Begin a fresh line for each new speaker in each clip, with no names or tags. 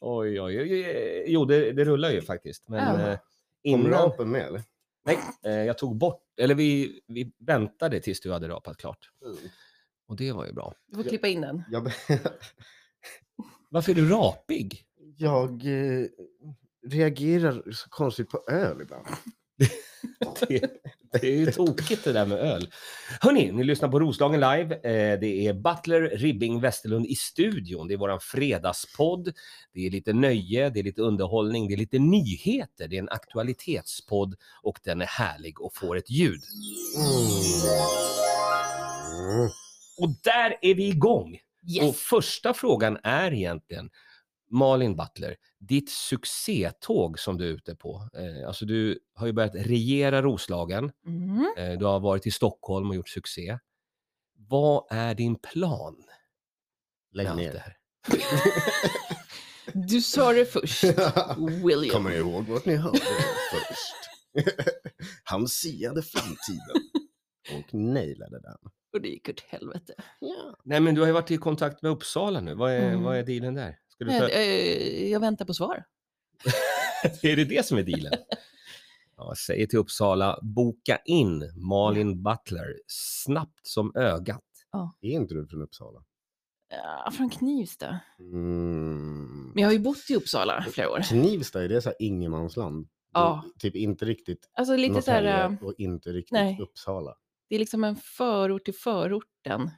Oj, oj, oj. Jo, det, det rullar ju faktiskt. Men
Ja.
eh,
Kom
innan,
rapen med eller?
nej, eh, jag tog bort, eller vi, vi väntade tills du hade rapat klart. Och det var ju bra.
Du får klippa in den.
Jag,
Varför är du rapig?
jag eh, reagerar så konstigt på öl ibland.
Det, det är ju tokigt det där med öl. Hörni, ni lyssnar på Roslagen live. Eh, Det är Butler, Ribbing, Westerlund i studion. Det är våran fredagspodd. Det är lite nöje, det är lite underhållning, det är lite nyheter. Det är en aktualitetspodd och den är härlig och får ett ljud. Och där är vi igång! Och
Yes!
första frågan är egentligen, Malin Butler, ditt succétåg som du är ute på. Eh, Alltså du har ju börjat regera Roslagen.
Mm.
Eh, Du har varit i Stockholm och gjort succé. Vad är din plan
Lägg
allt
ner.
det här?
Du sa det först, William.
Kommer ni ihåg vart ni hörde det först? Han siade framtiden och nailade den.
Och det gick åt helvete.
Nej, men du har ju varit i kontakt med Uppsala nu. Vad är,
Mm.
vad är dealen där? Ska du
Nej,
ta...
eh, jag väntar på svar.
är det det som är dealen? Ja, jag säger till Uppsala, boka in Malin Butler snabbt som ögat.
Är inte du från Uppsala?
Ja, från Knivsta.
Mm.
Men jag har ju bott i Uppsala flera år.
Knivsta, är det så här ingenmansland? Det är
Mm.
Ja.
Typ inte riktigt
Alltså lite så här, eh,
Norrtälje och inte riktigt
nej.
Uppsala.
det är liksom en förort till förorten.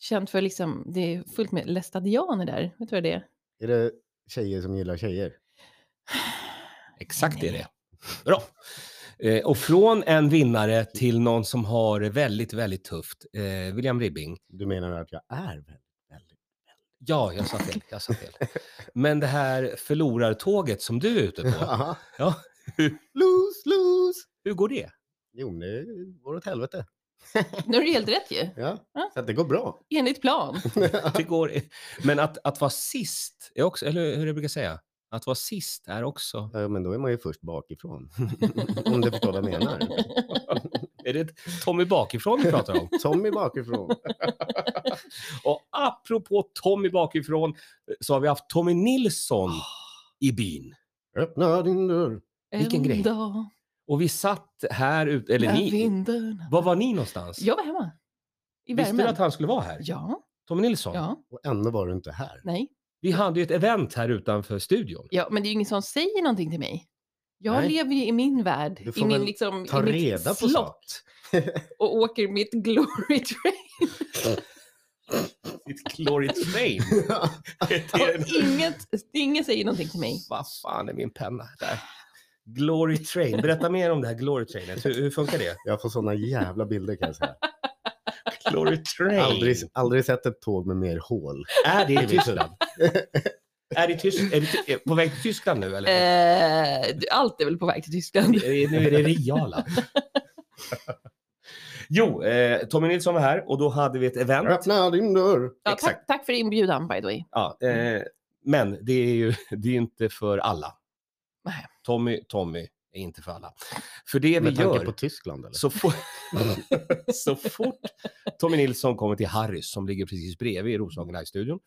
Känt för liksom, det är fullt med lästadianer där. Vet du vad det är?
Är det tjejer som gillar tjejer?
Exakt är det. Bra. Eh, och från en vinnare till någon som har det väldigt, väldigt tufft. Eh, William Ribbing,
Du menar att jag är väldigt, väldigt...
Ja, jag sa fel. Jag sa fel. Men det här förlorartåget som du är ute på,
Aha.
Ja.
Loose, loose!
hur går det?
Jo, men det går åt helvete.
Nu är det helt rätt ju.
Ja,
Ja.
så att det går bra.
Enligt plan.
det går... Men att, att vara sist, är också, eller hur jag brukar säga, att vara sist är också...
Ja, men då är man ju först bakifrån. Om du förstår vad jag menar.
Är det ett Tommy bakifrån vi pratar om?
Tommy bakifrån.
Och apropå Tommy bakifrån eh, så har vi haft Tommy Nilsson i bin.
Öppna din dörr.
Vilken grej.
En dag
Och vi satt här ute, eller
när
ni,
vindarna-
var var ni någonstans?
Jag var hemma. I
Visste
värmen.
du att han skulle vara här?
Ja,
Tommy Nilsson?
ja,
Och ändå var du inte här.
nej.
Vi hade ju ett event här utanför studion.
Ja, men det är ju ingen som säger någonting till mig. Jag
Nej.
lever ju i min värld,
Du får
i min
väl
liksom,
ta
i mitt
reda på
slott
saker.
och åker mitt glory train.
Ditt glory train. Det är en
Och inget, ingen säger någonting till mig.
Vad fan är min penna? Där. Glory Train. Berätta mer om det här Glory Trainet. Hur, hur funkar det?
Jag får såna jävla bilder kan jag säga.
Glory Train.
Aldrig, aldrig sett ett tåg med mer hål.
Är det i
Aldrig.
Tyskland? är det, i Tysk- är det ty- är på väg till Tyskland nu eller?
Eh, du- allt är väl på väg till
Eh,
Tyskland.
Är det- Nu är det Riala. jo, eh, Tommy Nilsson var här och då hade vi ett event.
Öppna din dörr.
Ja,
Exakt.
tack, tack för inbjudan by the way.
Ja, eh, men det är ju det är ju inte för alla.
Nej.
Tommy, Tommy är inte för alla. För det vi
Med tanke
gör...
på Tyskland eller?
Så, for... så fort Tommy Nilsson kommer till Harrys som ligger precis bredvid i Roslagen Live-studion,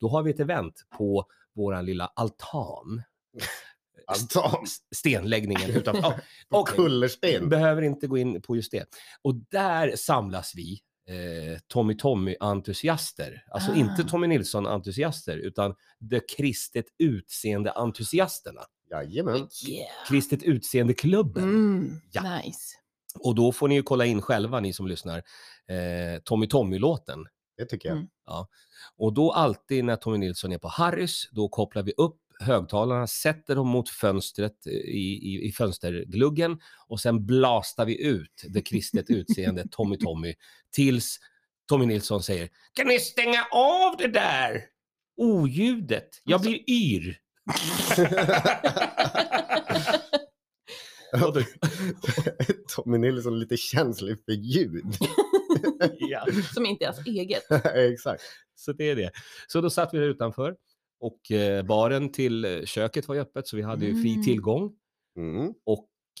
då har vi ett event på våran lilla altan.
Alltså,
S- Stenläggningen utanför. Ja,
på
okej.
kullersten.
Behöver inte gå in på just det. Och där samlas vi eh, Tommy Tommy-entusiaster. Alltså
Ah.
inte Tommy Nilsson-entusiaster, utan de kristet utseende-entusiasterna.
Jajamän.
Yeah.
Kristet utseende-klubben.
Mm,
Ja.
Nice.
Och då får ni ju kolla in själva, ni som lyssnar, eh, Tommy Tommy-låten.
Det tycker jag.
Mm.
Och då alltid när Tommy Nilsson är på Harrys, då kopplar vi upp högtalarna, sätter dem mot fönstret eh, i, i, i fönstergluggen och sen blastar vi ut det kristet utseende Tommy Tommy tills Tommy Nilsson säger Kan ni stänga av det där oljudet? Jag blir yr. Och då-
Tommy Nilsson är liksom lite känslig för ljud.
ja.
Som inte är ens eget.
Eh, Exakt.
Så det är det. Så då satt vi där utanför och eh, baren till eh, köket var ju öppet så vi hade ju fri
Mm.
tillgång. eh,
Mm.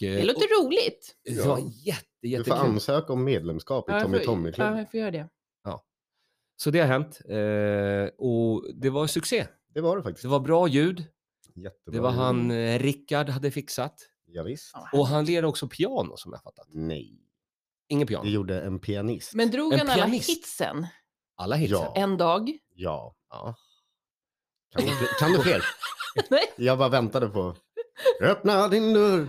Det låter roligt.
Det var jätte,
Du får
jättekul.
ansöka om medlemskap i
Ja, jag
Tommy
får-
Tommy
Ja,
Club.
jag får göra det.
Så det har hänt eh, och det var succé.
Det Det var det faktiskt.
Det var bra ljud.
Jättebra.
Det var
gjort.
han eh, Rickard hade fixat.
Ja, visst.
Ja.
Och han lirade också piano som jag fattat.
Nej,
Ingen
det
piano.
gjorde en pianist.
Men drog
En
han alla
pianist.
hitsen
Alla hitsen.
Ja.
en dag?
Ja.
Ja.
Kan du, fler- kan du fler?
Nej,
Jag bara väntade på... Öppna din dörr!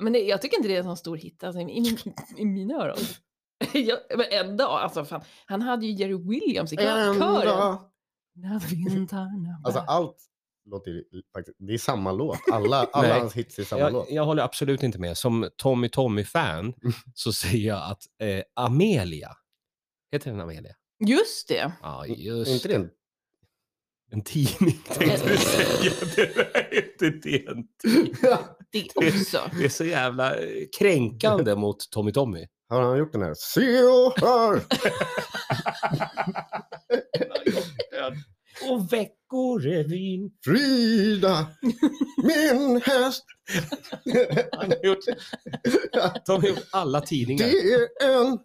men det, jag tycker inte det är en sån stor hit alltså, i, min, i mina öron. Jag, men en dag, alltså fan. Han hade ju Jerry Williams i kö-
En
kören.
dag.
När vintrarna
Alltså
bär.
allt låter ju faktiskt... Det är samma låt. Alla, alla
Nej.
hans hits är samma låt.
Jag, jag håller absolut inte med. Som Tommy Tommy-fan så säger jag att eh, Amelia, heter den Amelia?
Just det.
Ja,
Mm, Är
just
inte det en
En tidning tänkte du säga. Det är inte det. en-
Det också.
Det är så jävla eh, kränkande mot Tommy Tommy.
Har han gjort den här? Se och hör!
Och Veckorevyn.
Frida! Min häst!
Han har gjort, de har gjort alla tidningar.
Det är en...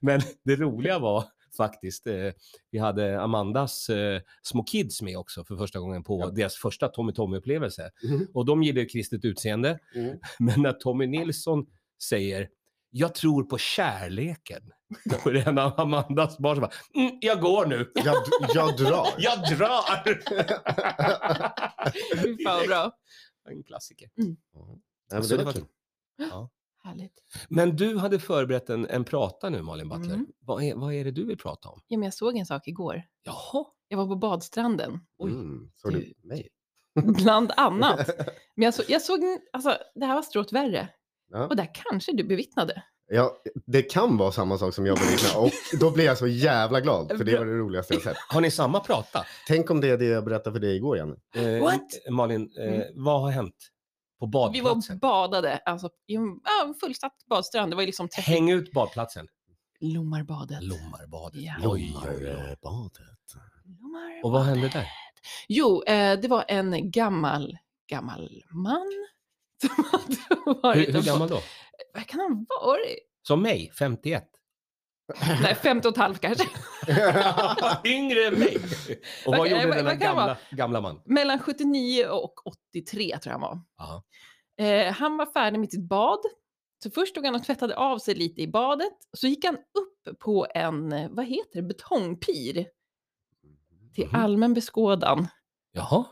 Men det roliga var faktiskt, eh, vi hade Amandas eh, små kids med också för första gången på
Ja.
deras första Tommy Tommy-upplevelse.
Mhm.
Och de gillar ju kristet utseende.
Mm.
Men när Tommy Nilsson säger “Jag tror på kärleken” på den av Amandas barn så bara mm, “Jag går nu,
Jag, jag drar.
jag drar”.
Fy fan vad bra.
En klassiker.
Nej, men
Så
det
det
var
var-
kul.
Härligt.
Men du hade förberett en, en prata nu Malin Butler.
Mm.
Vad, är, vad är det du vill prata om?
Ja, men jag såg en sak igår.
Jaha,
Jag var på badstranden. Oj,
Mm, såg du mig?
Mm.
Bland annat. Men jag, så, jag såg, en- alltså det här var strået värre.
Ja.
Och där kanske du bevittnade.
Ja, det kan vara samma sak som jag beräknade och då blir jag så jävla glad för det
Bra.
var det roligaste jag sett.
har ni samma prata?
Tänk om det är det jag berättade för dig igår, Janne.
Eh,
What? Mm.
Malin, eh, vad har hänt på
Vi var
badplatsen?
och badade, alltså i en ja, en fullsatt badstrand. Det var ju liksom tätt-
Häng ut badplatsen.
Lomarbadet.
Lommarbadet.
Ja.
Oj, oj, oj.
badet.
Lomar.
Och vad hände där?
Jo, eh, det var en gammal, gammal man. Som hade varit
Hur, hur
och-
gammal då?
Vad kan han ha varit?
Som mig, 51.
Nej, 15 och ett halvt kanske.
Yngre än mig. Och
Vad-
vad gjorde
vad-
denna
vad kan det vara?
gamla, gamla man?
Mellan 79 och 83 tror jag han var.
Aha.
Eh, han var färdig med sitt bad. Så först stod han och tvättade av sig lite i badet. Så gick han upp på en, eh, vad heter det, betongpir till
Mhm.
allmän beskådan
Jaha.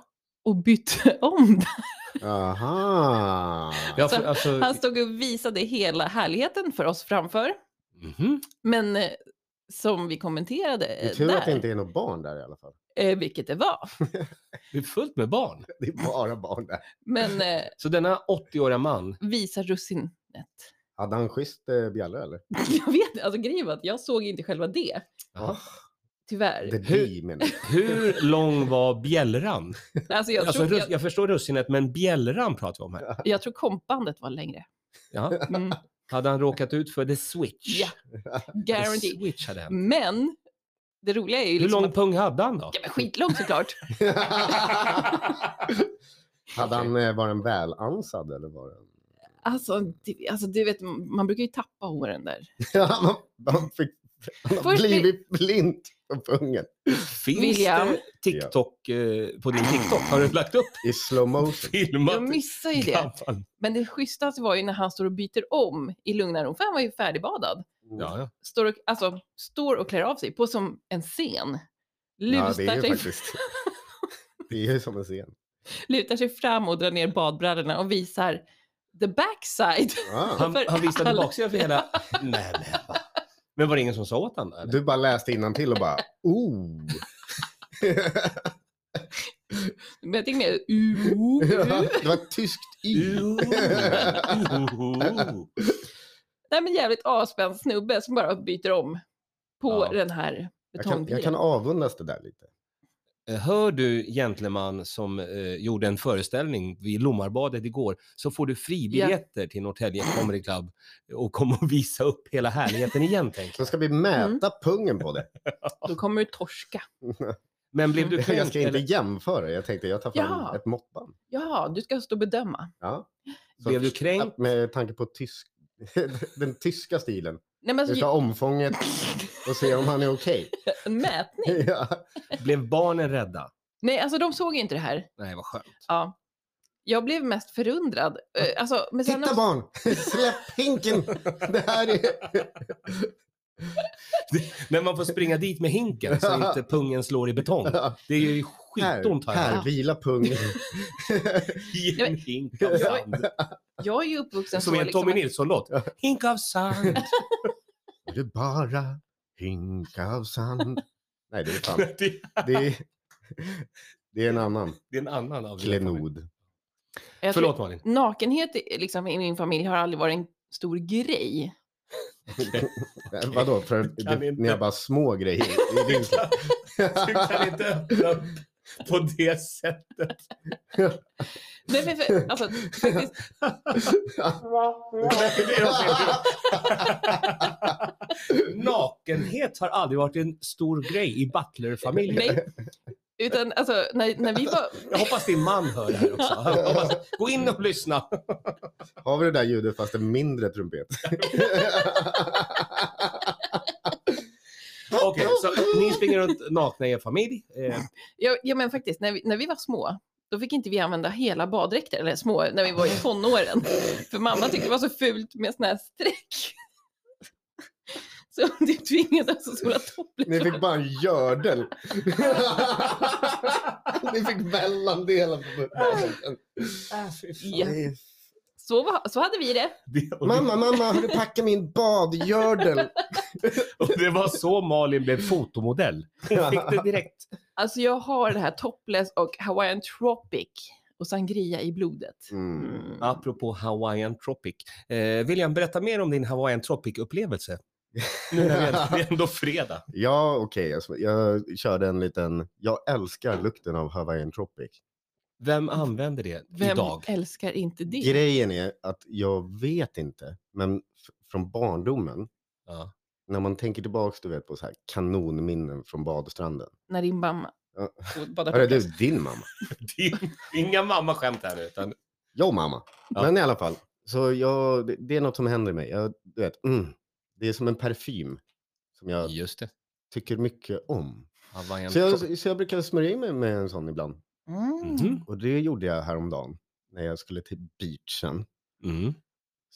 och bytte om den.
Aha.
Jag,
Så
får- alltså,
Han stod och visade hela härligheten för oss framför.
mhm.
Men eh, som vi kommenterade
Det är
eh,
tur
där,
att det inte är något barn där i alla fall.
eh, vilket det var.
Det är fullt med barn.
Det är bara barn där.
Men eh,
Så denna 80-åriga man,
visa russinet.
Hade han schysst eh, bjällra eller?
Jag vet inte, alltså grejen var att jag såg inte själva det,
Jaha.
tyvärr.
The D menar jag.
hur lång var bjällran?
Alltså, jag,
Jag, alltså,
tror,
rus- jag... förstår russinet, men bjällran pratar vi om här.
jag, jag tror kompbandet var längre.
Jaha.
Mm.
Hade han råkat ut för the switch?
Ja,
the
guarantee.
switch hade hänt.
Men det roliga är ju
Hur
liksom
lång
att...
pung hade han då?
Ja, men skitlång såklart.
Hade han eh, var den välansad eller var den?
Alltså, det, alltså du vet, man brukar ju tappa håren där.
han, han, fick, han har
Först vi-
blivit blind på pungen
Finns
William?
det TikTok eh, på din TikTok? Har du lagt upp
i slow motion.
filmat?
Jag missar ju det.
Gammal.
Men det schysstaste var ju när han står och byter om i lugna ro, för han var ju färdigbadad.
Mm.
Ja, ja.
Står och, alltså, står och klär av sig på som en scen.
Ja,
Lutar,
det är ju
sig,
faktiskt. Det är ju som en scen.
lutar sig fram och drar ner badbrallorna och visar the backside.
Ah.
Han,
För
han visade
alla.
baksidan för hela... Nej, men, va? men var det ingen som sa åt honom?
Du bara läste innantill och bara oh.
Men jag tänker mer, uh, uh, uh.
Det var ett tyskt y.
Nej men jävligt avspänd snubbe som bara byter om på
Ja.
den här
Jag kan, jag
betongbilen.
kan avundas det där lite.
Eh, Hör du gentleman som eh, gjorde en föreställning vid Lommarbadet igår så får du fribiljetter till Norrtälje Comedy Club och kommer att visa upp hela härligheten igen. tänker
Så
jag.
ska vi mäta pungen på det.
Då kommer du torska.
Men blev du
Jag
kränkt?
ska inte
eller-
jämföra. Jag tänkte jag tar fram
Ja.
ett måttband.
Ja, du ska stå och bedöma.
Ja. Så
Blev du
att-
kränkt?
Med tanke på tysk, den tyska stilen.
Nej men
Vi
alltså,
ska ha omfånget och se om han är okej.
en mätning.
Ja.
Blev barnen rädda?
Nej, alltså de såg ju inte det här.
Nej, vad skönt.
Ja. Jag blev mest förundrad. Eh, Alltså, men sen
Titta
också,
barn! Släpp hinken! Det här är...
När man får springa dit med hinken så inte pungen slår i betong. Det är ju skitont
här,
här.
här, vila pungen.
I en hink av
Ja.
sand.
jag är ju uppvuxen
Som
så
i en
liksom
Tommy
att-
Nilsson-låt. Hink av sand.
Är det bara hink av sand? Nej, det är fan.
Det
Det är, det är en annan
det är en annan av dina favoriter.
klenod.
jag tror-
Förlåt Malin.
Nakenhet i- liksom, i min familj har aldrig varit en stor grej.
Eh, Vadå, för
Kan
det,
inte-
ni har bara små grejer i din släkt?
Du kan inte öppna upp på det sättet.
Nej, men för, alltså, faktiskt,
Det är någonting. Nakenhet har aldrig varit en stor grej i Butler-familjen.
nej. Utan alltså, när, när vi var...
Jag hoppas din man hör det här också. Jag hoppas, gå in och lyssna.
Har vi det där ljudet fast en mindre trumpet?
Okej, så ni springer runt nakna i er familj. Eh,
Ja, ja men faktiskt, när vi, när vi var små, då fick inte vi använda hela baddräkter, eller små, när vi var i tonåren. För mamma tyckte det var så fult med såna här streck. Så typ du tvingades ha så stora
Ni
topplar.
fick bara en gördel. Ni fick mellandelen på
Ja. Så, var, så hade vi det.
det, och, det,
Mamma, mamma, har du packat min badgördel?
och det var så Malin blev fotomodell. Hon fick det direkt.
Alltså jag har det här topless och Hawaiian tropic och sangria i blodet.
Mm.
Mm.
Apropå Hawaiian Tropic. Eh, William, berätta mer om din Hawaiian Tropic-upplevelse. Nu när vi ändå- det är ändå fredag.
Ja, okej. alltså, Jag körde en liten... Jag älskar lukten av Hawaiian Tropic.
Vem använder det
Vem
idag?
älskar inte det?
Grejen är att jag vet inte, men f- från barndomen,
Ja.
när man tänker tillbaka du vet, på så här kanonminnen från badstranden.
När din mamma
Ja.
och badar
Hörru du,
podcast.
din mamma.
Det är inga mammaskämt här nu, utan
Jag och mamma.
Ja.
Men i alla fall, så jag, det, det är något som händer mig. Jag, du vet, mm, det är som en parfym som jag
just det.
tycker mycket om.
Hawaiian
Så
Tropic.
jag, så jag brukar smörja in mig med en sån ibland.
Mm.
Mhm.
Och det gjorde jag häromdagen när jag skulle till beachen.
Mm.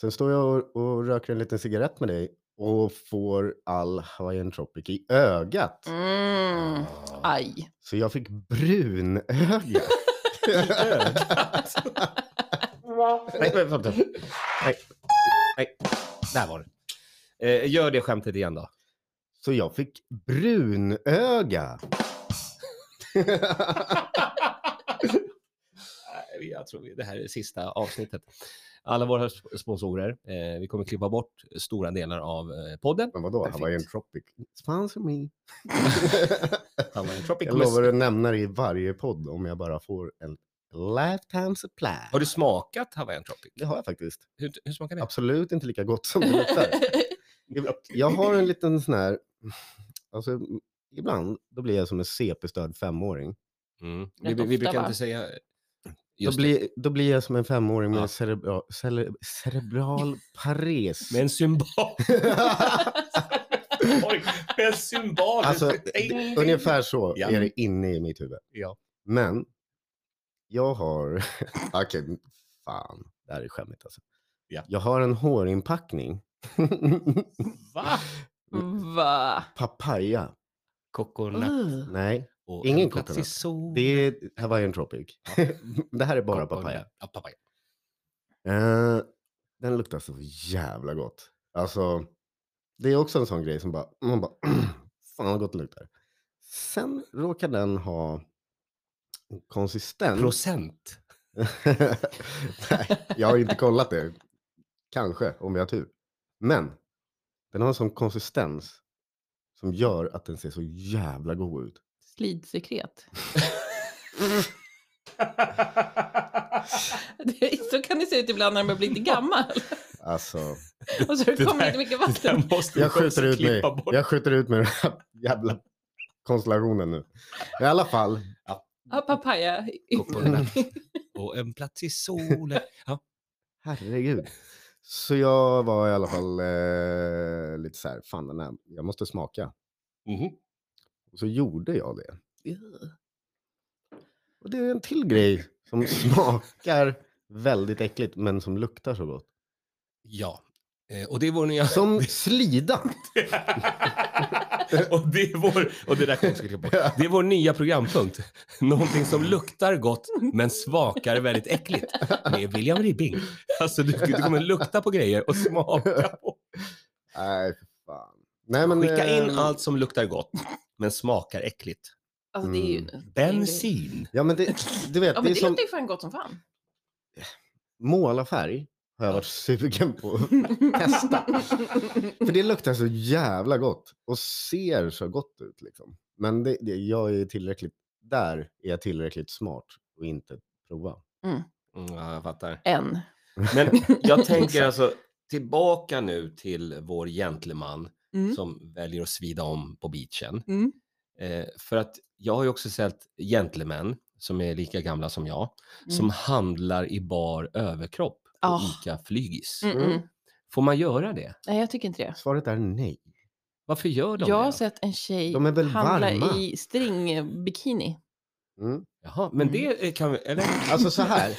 Sen står jag och, och röker en liten cigarett med dig och får all Hawaiian Tropic i ögat. Ah.
Mm. Aj.
Så jag fick brun öga.
Nej, vänta, vänta. Nej. Nej, där var det. Eh, gör det skämtet igen då.
så jag fick brun öga.
Nej, Jag tror vi- det här är sista avsnittet. Alla våra sp- sponsorer. Eh, vi kommer klippa bort stora delar av eh, podden.
Men vadå,
Perfekt.
Hawaiian Tropic? Sponsor me.
Hawaiian Tropic
jag
med-
lovar att nämna det i varje podd om jag bara får en lifetime supply.
Har du smakat Hawaiian Tropic?
Det har jag faktiskt.
Hur, hur smakar det?
Absolut inte lika gott som det luktar. Jag har en liten sån här, alltså m- ibland då blir jag som en CP-störd femåring.
Mm. Vi,
Rätt
vi, vi
ofta,
brukar
va?
inte säga...
Då
Just det.
blir, då blir jag som en femåring med
Ja.
cerebra, cere, cerebral pares.
Med en symbol. Oj, med en symbol.
Alltså,
Ding, ding.
Ungefär så
Ja.
är det inne i mitt huvud.
Ja.
Men jag har, okej, fan, det här är skämmigt alltså.
Ja.
Jag har en hårinpackning,
Va?
Va?
papaya.
Coconut
Uh.
Nej,
och
Ingen
en plats i
coconut.
sol.
det är Hawaiian Tropic. det här är bara
Coconut.
papaya.
Ja, papaya.
Eh, den luktar så jävla gott. Alltså, det är också en sån grej som bara, man bara, fan vad gott det luktar. Sen råkar den ha en
Mm.
konsistens.
Procent.
Nej, jag har inte kollat det. Kanske, om vi har tur. Men den har en sån konsistens som gör att den ser så jävla god ut.
Slidsekret. Det är- Så kan det se ut ibland när man blir lite gammal.
Alltså,
Och så har
Det
det kommit
där-
lite mycket
Det där
vatten.
måste vi
jag skjuter
också
ut mig.
klippa bort.
Jag skjuter ut mig den här jävla konstellationen nu. I alla fall,
Ja, papaya.
Coconut och en plats i solen. Ja.
herregud. Så jag var i alla fall eh, lite så här, fan den här, jag måste smaka.
Mhm.
Och så gjorde jag det. Och det är en till grej som smakar väldigt äckligt men som luktar så gott.
Ja. Eh, Och det är vår nya...
Som slida.
och, det är vår... och det där kommer jag att klippa bort. Det är vår nya programpunkt. Någonting som luktar gott men smakar väldigt äckligt. Med William Ribbing. Alltså du, du kommer lukta på grejer och smaka på.
Nej, för fan. Nej, men,
Skicka in
eh,
allt som luktar gott men smakar äckligt.
Alltså det är ju...
Mm. Bensin.
Ja, men det, du vet,
Ja
det
men
är
det
som
luktar ju fan gott som fan.
målarfärg har jag varit sugen på. Testa. För det luktar så jävla gott och ser så gott ut. Liksom. Men det, det, jag är tillräckligt, där är jag tillräckligt smart och inte prova.
Mm, ja, jag fattar.
En.
Men jag tänker alltså tillbaka nu till vår gentleman
Mm.
som väljer att svida om på beachen.
Mm.
Eh, för att jag har ju också sett gentlemän som är lika gamla som jag
Mm.
som handlar i bar överkropp på
Ah.
ICA Flygis.
Mm -mm.
Får man göra det?
Nej jag tycker inte det.
Svaret är nej.
Varför gör de
Jag har
det?
sett en tjej
De är väl
handla
varma?
i stringbikini.
Mm.
Jaha, men
Mm.
det eh, kan vi... Eller?
Alltså så här.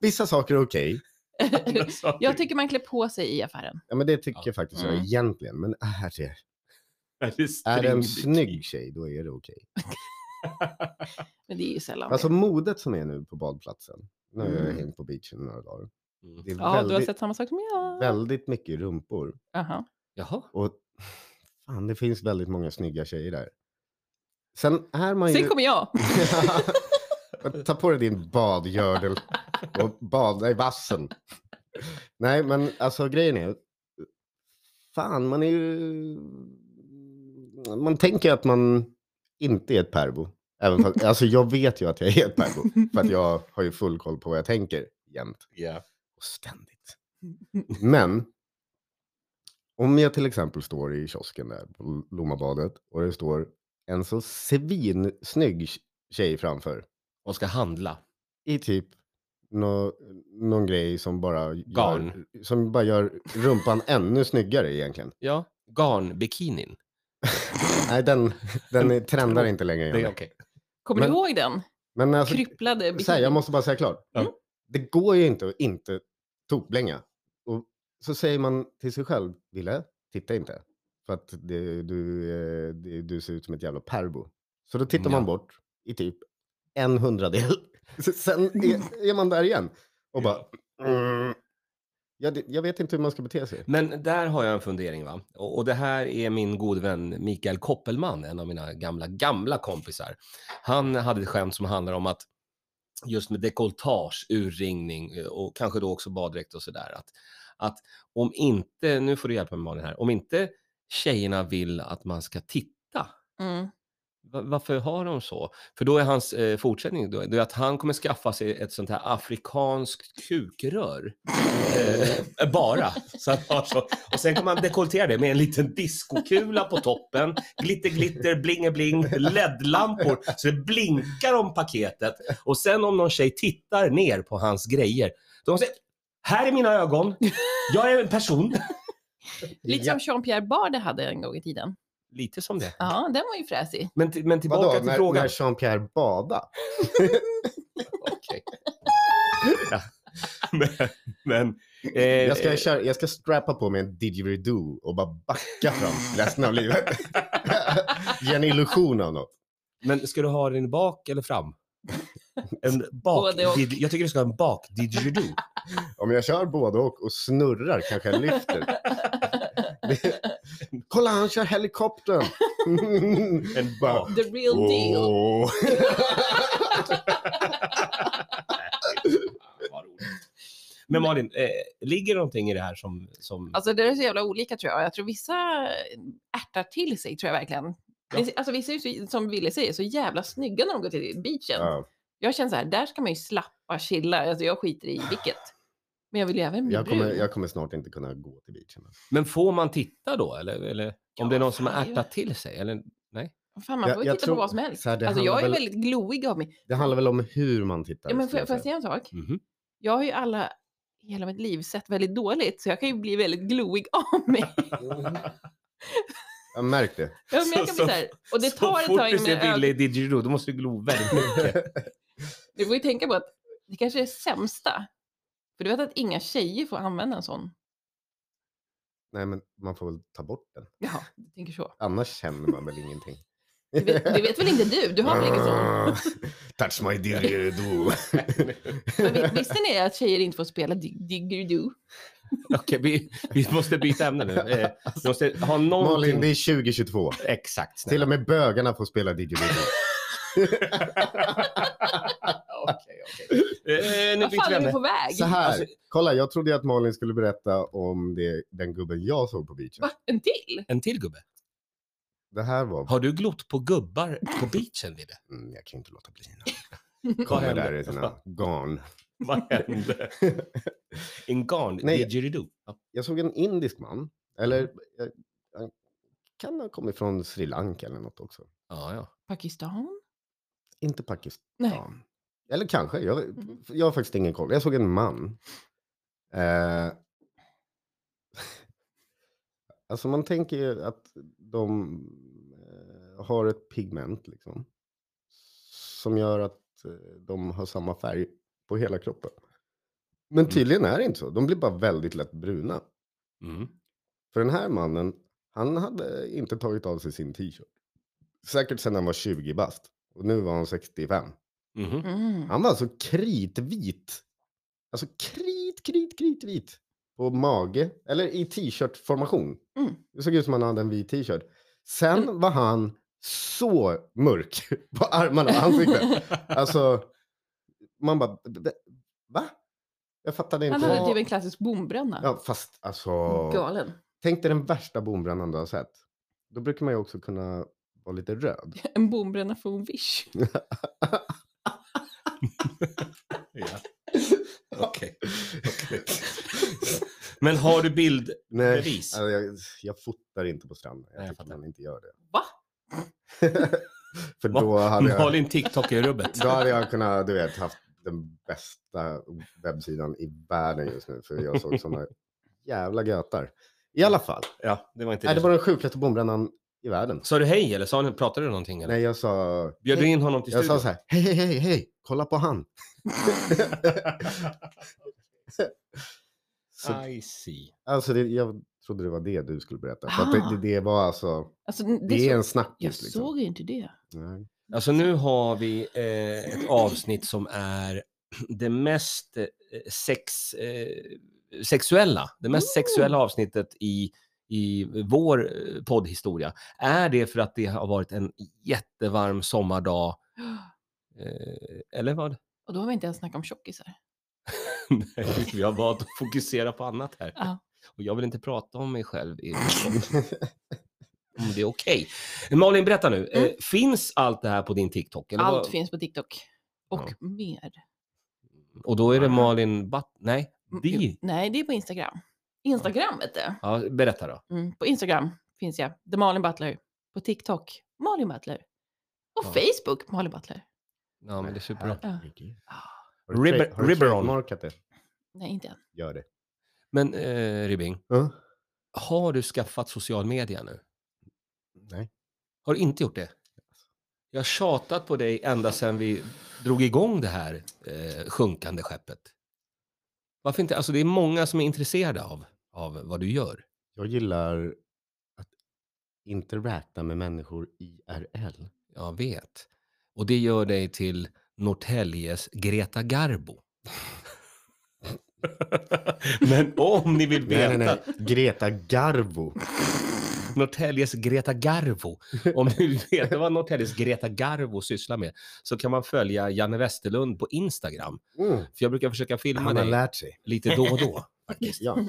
Vissa saker är okej.
Alltså,
Jag tycker man klär på sig i affären.
Ja, men det tycker
Ja.
faktiskt jag
Mm.
egentligen. Men är det, är
Är
det en snygg tjej, då är det okej.
Men det är ju sällan.
Alltså
det.
modet som är nu på badplatsen. Nu har jag
Mm.
hängt på beachen några dagar.
Mm.
Det är
ja, du har
väldigt,
sett samma sak som jag.
väldigt mycket rumpor.
Aha.
Jaha.
Och fan, det finns väldigt många snygga tjejer där. Sen är man ju...
Sen kommer jag.
Ta på dig din badgördel och bada i vassen. Nej, men alltså grejen är... Fan, man är ju... Man tänker att man inte är ett pervo. Även fast, alltså jag vet ju att jag är ett pervo. För att jag har ju full koll på vad jag tänker jämt
Ja.
och ständigt. Men om jag till exempel står i kiosken där på Lommabadet och det står en så svinsnygg tjej framför
Och ska handla.
i typ nå, någon grej som bara,
Garn.
Gör, som bara gör rumpan ännu snyggare egentligen.
Ja. Garnbikinin.
Nej, den, den är- trendar inte längre.
Det är
Janne.
okej.
Kommer
Men-
du ihåg den?
Men alltså,
Krypplade
så här,
bikini.
jag måste bara säga klart.
Ja.
Det går ju inte att inte tokblänga. Och så säger man till sig själv, Ville, titta inte. För att det, du, eh, det, du ser ut som ett jävla perbo. Så då tittar man
Mm, Ja.
bort i typ en hundradel. Så Sen är, är man där igen. Och bara... Mm, jag, jag vet inte hur man ska bete sig.
Typ. Men där har jag en fundering va. Och, och det här är min god vän Mikael Koppelman, en av mina gamla, gamla kompisar. Han hade ett skämt som handlar om att just med dekoltage, urringning eh, och kanske då också baddräkt och sådär. Att, att om inte, nu får du hjälpa mig Malin här, om inte tjejerna vill att man ska titta
Mm.
Va- Varför har de så? För då är hans eh, fortsättning då, det är att han kommer skaffa sig ett sånt här afrikanskt kukrör. Eh, bara. Så han har så. Och sen kommer han dekoltera det med en liten diskokula på toppen. Glitter, glitter, blinge, bling, LED-lampor. Så det blinkar om paketet. Och sen om någon tjej tittar ner på hans grejer, då säger här är mina ögon. Jag är en person.
Lite som Jean-Pierre Bardet hade en gång i tiden.
Lite som det.
Ja, den var ju fräsig.
Men, till- men tillbaka
Vadå,
till
när,
frågan.
när Jean-Pierre bada?
Okej. Ja. Men, men eh,
Jag ska, köra, jag ska strappa på mig en didgeridoo och bara backa fram resten av livet. Ge en illusion av något.
men ska du ha den bak eller fram? En bak,
Både och.
did- jag tycker du ska ha en bak didgeridoo.
Om jag kör både och och snurrar kanske jag lyfter. Det- Kolla, han kör helikoptern!
En
Bara-
bak.
The real deal.
Åh.
Men Malin, eh, ligger någonting i det här som... som
Alltså det är så jävla olika tror jag. Jag tror vissa ärtar till sig tror jag verkligen.
Ja.
Alltså vissa är ju, så- som Ville säger, så jävla snygga när de går till beachen.
Ja,
Jag känner så här, där ska man ju slappa, chilla. Alltså jag skiter i vilket. Men jag vill ju även bli
jag, kommer,
brun.
jag kommer snart inte kunna gå till beachen.
men får man titta då? Eller, eller om
Ja,
det är någon som har
fan, det är-
ärtat till sig? Eller,
Fan, man
Jag-
får ju
jag
titta
tror-
på vad som helst.
så här, det
alltså jag är
handlar väl-
väldigt glowig av mig.
Det handlar väl om hur man tittar.
Ja, men får,
skulle
jag- får jag
säga.
säga en sak?
Mhm.
Jag har ju alla, hela mitt liv sett väldigt dåligt, så jag kan ju bli väldigt glowig av mig.
Jag märkte det.
Ja, men jag kan bli
Så-
så här, och det
Så
tar ett
fort
tag
du
innan
ser
jag
Wille i Didgeridoo, då måste du glo väldigt mycket.
Du får ju tänka på att det kanske är det sämsta. För du vet att inga tjejer får använda en sån.
Nej, men man får väl ta bort den.
Jaha, du tänker så.
Annars känner man väl ingenting.
Det vet, det vet väl inte du? Du har väl ingen sån?
Touch my didgeridoo.
Men vi- visste ni att tjejer inte får spela dig- didgeridoo?
Okej, vi, vi måste byta ämne nu. Eh, vi måste ha någonting...
Malin, det är 2022.
Exakt. snälla.
Till och med bögarna får spela didgeridoo.
Okej, okej. Eh, nu
Vad
byter
fan
vi
är vi
ämne.
på väg?
Så här,
Alltså-
kolla jag trodde ju att Malin skulle berätta om det, den gubben jag såg på beachen.
Va? En till?
En till gubbe.
Det här var...
Har du glott på gubbar på beachen, Wille?
Mm, jag kan ju inte låta bli.
Vad
Kommer
hände?
där i sina garn.
Vad hände? En garn
Nej.
didgeridoo. Ja.
Jag såg en indisk man, eller eh, han kan ha kommit från Sri Lanka eller något också.
Ja, ja.
Pakistan?
Inte Pakistan.
Nej.
Eller kanske, jag,
Mhm.
jag har faktiskt ingen koll. Jag såg en man. Eh, alltså man tänker ju att de eh, har ett pigment liksom. Som gör att eh, de har samma färg på hela kroppen. Men
Mm.
tydligen är det inte så. De blir bara väldigt lätt bruna.
Mm.
För den här mannen, han hade inte tagit av sig sin t-shirt. Säkert sedan han var 20 bast. Och nu var han 65.
Mhm.
Mm.
Han var alltså kritvit. Alltså krit, krit, kritvit. På mage, eller i t-shirt-formation.
Mm.
Det såg ut som han hade en vit t-shirt. Sen var han så mörk på armarna och ansiktet. Alltså, man bara, "B- b- va? Jag fattade inte.
Han hade
vad-
typ en klassisk bombränna.
Ja, fast alltså,
Galen.
tänk dig den värsta bombrännan du har sett. Då brukar man ju också kunna vara lite röd.
En bombränna från Wish.
Ja. Okej. Okej. Men har du bild...
Nej,
Bevis.
alltså, jag, jag fotar inte på stranden. Jag
Nej, jag
tycker
fattar.
man inte gör det.
Va?
För
Va?
då hade, jag,
Malin TikTok i rubbet.
då hade jag kunnat, du vet, haft den bästa webbsidan i världen just nu. För jag såg sådana jävla götar. I alla fall.
Ja, Mm. det var inte
Nej, det
det.
var den sjukaste bombrännan i världen.
Sa du hej eller sa ni, pratade du någonting? Eller?
Nej, jag sa...
Bjöd du in honom till
Jag sa
studion?
så här, hej, hej, hej, hej, kolla på han. så,
I see.
alltså, det, jag trodde det var det du skulle berätta. För att
Ah.
det, det, det var alltså,
Alltså, det
det, är
så...
en
Jag
snackis. Liksom.
såg ju inte det.
Nej.
Alltså nu har vi eh, ett avsnitt som är det mest eh, sex, eh, sexuella, det mest
Mm.
sexuella avsnittet i, i vår eh, poddhistoria. Är det för att det har varit en jättevarm sommardag? Eh, eller vad?
Och då har vi inte ens snackat om tjockisar.
Nej, vi har valt att fokusera på annat här.
Ja.
Och jag vill inte prata om mig själv i om det är okej. Malin, berätta nu. Eh,
Mm.
finns allt det här på din TikTok? eller vad-
Allt finns på TikTok. Och
Ja.
mer.
Och då är det Malin Batt... Nej,
Mm,
Di.
jo, Nej, det är på Instagram. Instagram vet du.
Ja, berätta då.
Mm, på Instagram finns jag. The Malin Butler. På TikTok. Malin Butler. Och
Ja.
Facebook. Malin Butler.
Ja, men det är superbra.
Herregud.
Ja.
Har du tra-
Ribber-
har du
Ribberon.
trademarkat det?
Nej, inte än.
Gör det.
Men eh, Ribbing,
Ja.
har du skaffat social media nu?
Nej.
Har du inte gjort det? Jag har tjatat på dig ända sedan vi drog igång det här eh, sjunkande skeppet. Varför inte? Alltså det är många som är intresserade av, av vad du gör.
Jag gillar att interagera med människor IRL.
Jag vet. Och det gör dig till Norrtäljes Greta Garbo. Men om ni vill veta
Nej, nej, nej. Greta Garbo.
Norrtäljes Greta Garbo. Om du vill veta vad Norrtäljes Greta Garbo sysslar med så kan man följa Janne Westerlund på Instagram.
Mm.
För jag brukar försöka filma
Han har
dig
lärt sig.
lite då och då. faktiskt.
Ja.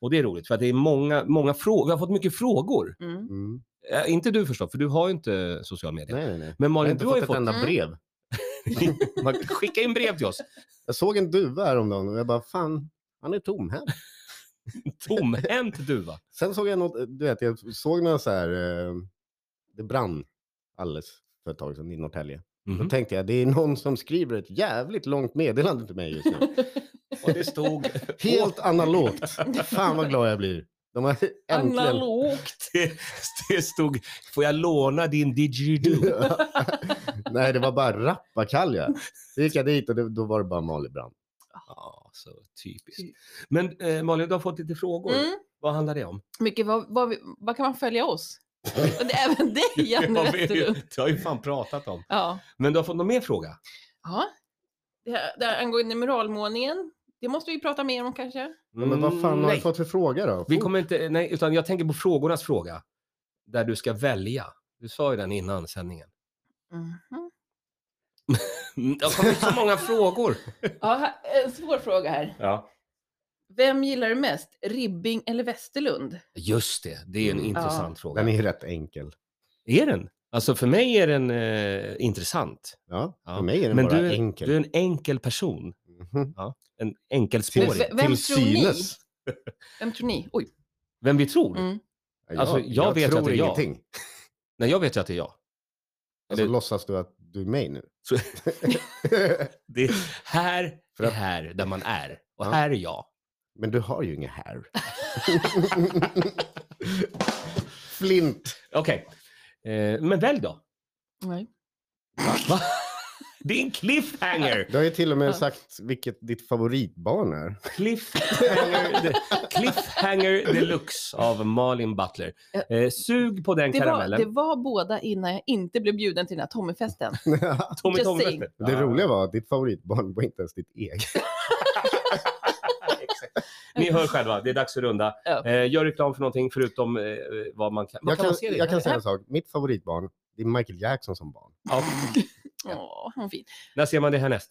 Och det är roligt för att det är många, många frågor. Vi har fått mycket frågor.
Mm.
Mm.
Eh, inte du förstås, för du har ju inte social media.
Nej, nej, nej.
Men
Jag har
Malin,
inte
du har
fått
ju
ett
fått...
enda
Mm.
brev.
Man, skicka in brev till oss.
Jag såg en duva häromdagen och jag bara, fan, han är tom här.
Tomhänt duva.
Sen såg jag något, eh, du vet, jag såg några så här, eh, det brann alldeles för ett tag sedan i Norrtälje. Då
Mhm.
tänkte jag, det är någon som skriver ett jävligt långt meddelande till mig just nu.
Och det stod...
Helt analogt. Fan vad glad jag blir. De har äntligen...
Analogt.
Det, det stod “Får jag låna din didgeridoo?”
Nej, det var bara rappakalja. Så gick jag dit och det, då var det bara Malin Brand.
Ja, så typiskt. Men eh, Malin, du har fått lite frågor.
Mm.
Vad handlar det om?
Mycket, vad, vad, vi- vad kan man följa oss? Och det är även dig, Janne
Ja, vi-
Westerlund.
det har ju fan pratat om.
Ja.
Men du har fått någon mer fråga?
ja. Det, här, det här angående muralmålningen, det måste vi prata mer om kanske.
Ja, Men vad fan har
Mm, nej.
du fått för fråga då?
Vi kommer inte, nej, utan jag tänker på frågornas fråga. Där du ska välja. Du sa ju den innan sändningen.
Mhm.
Mm, Det har kommit så många frågor.
Ja, här- en svår fråga här.
Ja.
Vem gillar du mest, Ribbing eller Västerlund?
Just det, det är en
Mm.
intressant fråga.
Den är ju rätt enkel.
Är den? Alltså för mig är den eh, intressant.
Ja,
Ja,
för mig är den
Men
bara
du,
enkel.
du är en enkel person.
Mhm.
En
Men
enkelspårig.
ve-
Vem,
vem
Till
tror ni?
synes.
Vem tror ni? Oj.
vem vi tror?
Mm.
Ja,
Alltså, jag vet att
tror
det är jag.
ingenting.
Nej, jag vet ju att det är jag.
Alltså,
Eller-
låtsas du att du är mig nu?
Så- Det är här
För
är
att-
här där man är. Och
Ja.
här är jag.
Men du har ju inget här. Flint.
Okej. Eh, men välj då.
Nej.
Va? Det är en cliffhanger!
Du har ju till och
Ja.
med sagt vilket ditt favoritbarn är.
Cliffhanger, cliffhanger deluxe av Malin Butler. Eh, sug på den
Det, var,
karamellen.
det var båda innan jag inte blev bjuden till den här Tommyfesten.
Tommy
Just
Tommy
saying.
Butler.
Det
Ja.
roliga var att ditt favoritbarn var inte ens ditt eget.
Exakt. Ni hör själva, det är dags att runda.
Ja.
Eh, gör reklam för någonting förutom eh, vad man kan... Vad
Jag
kan,
kan,
man se det?
jag kan säga en sak. Mitt favoritbarn, det är Michael Jackson som barn.
Ja.
Åh, vad fint.
När ser man det härnäst?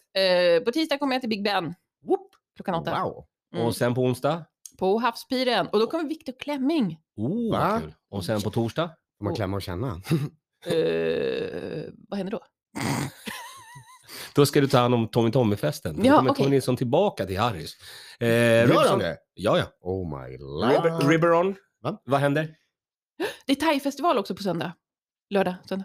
Eh, på tisdag kommer jag till Big Ben
Whoop.
klockan åtta.
Wow.
Mm.
Och sen på onsdag?
På havspiren. Och då kommer Viktor Klemming.
Oh,
Va?
vad kul. Och sen på torsdag?
Får man klämma och känna?
Eh, vad händer då?
Då ska du ta hand om Tommy Tommy-festen. Då
Ja,
kommer
okej.
Tommy Nilsson tillbaka till Harrys. Eh,
Gör
Ribson-
han det?
Ja, ja.
Oh my lord.
Rib- Riberon.
Va?
Vad händer?
Det är thai-festival också på söndag. Lördag, söndag.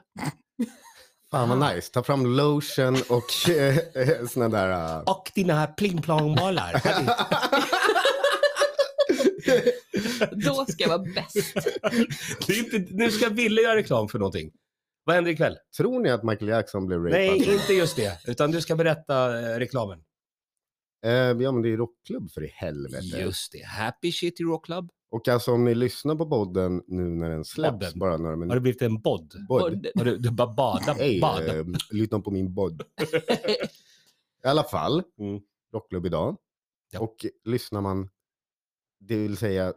Fan vad nice. Ta fram lotion och eh, såna där... eh,
Och dina plingplongbollar.
Då ska jag vara bäst.
Det är inte- nu ska Ville göra reklam för någonting. Vad händer ikväll?
Tror ni att Michael Jackson blev rapad?
Nej, inte just det. Utan du ska berätta eh, reklamen.
Eh, ja, men det är rockklubb för i helvete.
Just det. Happy Shitty Rock Club.
Och alltså om ni lyssnar på podden nu när den släpps
Podden.
bara några
Har det
minuter.
blivit en bodd?
Bod.
Har du, du bara bada,
Hej,
bada.
eh, lyssna på min podd. I alla fall,
Mm.
rockklubb idag.
Ja.
Och lyssnar man, det vill säga eh,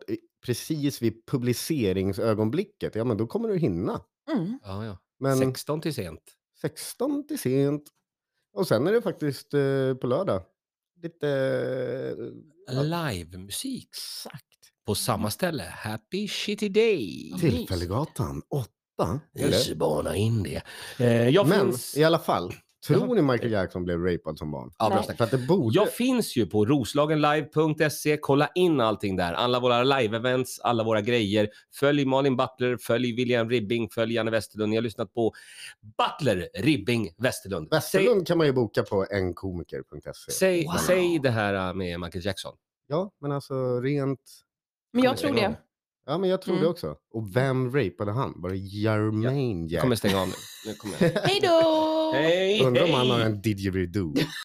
precis vid publiceringsögonblicket, ja men då kommer du hinna.
Mm.
Ja, ja.
Men
16 till sent.
16 till sent. Och sen är det faktiskt eh, på lördag. Lite... eh,
Livemusik
Exakt.
på samma ställe. Happy Shitty Day.
Till-
Tillfällegatan 8.
Just bara in det. Eh, jag,
Men
finns,
i alla fall, tror
Jaha.
ni Michael Jackson blev rapad som barn?
Ja, bra
Nej.
snack.
För att Oh, det borde...
jag finns ju på roslagenlive.se. Kolla in allting där. Alla våra live-events, alla våra grejer. Följ Malin Butler, följ William Ribbing, följ Janne Westerlund. Ni har lyssnat på Butler, Ribbing, Westerlund.
Västerlund kan man ju boka på enkomiker.se.
Säg, säg,
Wow.
säg det här äh, med Michael Jackson.
Ja, men alltså rent...
Men jag tror det.
Ja, men jag tror
Mm.
det också. Och vem rapade han? Var det Jermaine
Jag
Jackson?
kommer stänga av nu. nu kommer jag.
Hej då!
Hej,
Undrar om han
hej.
har en didgeridoo.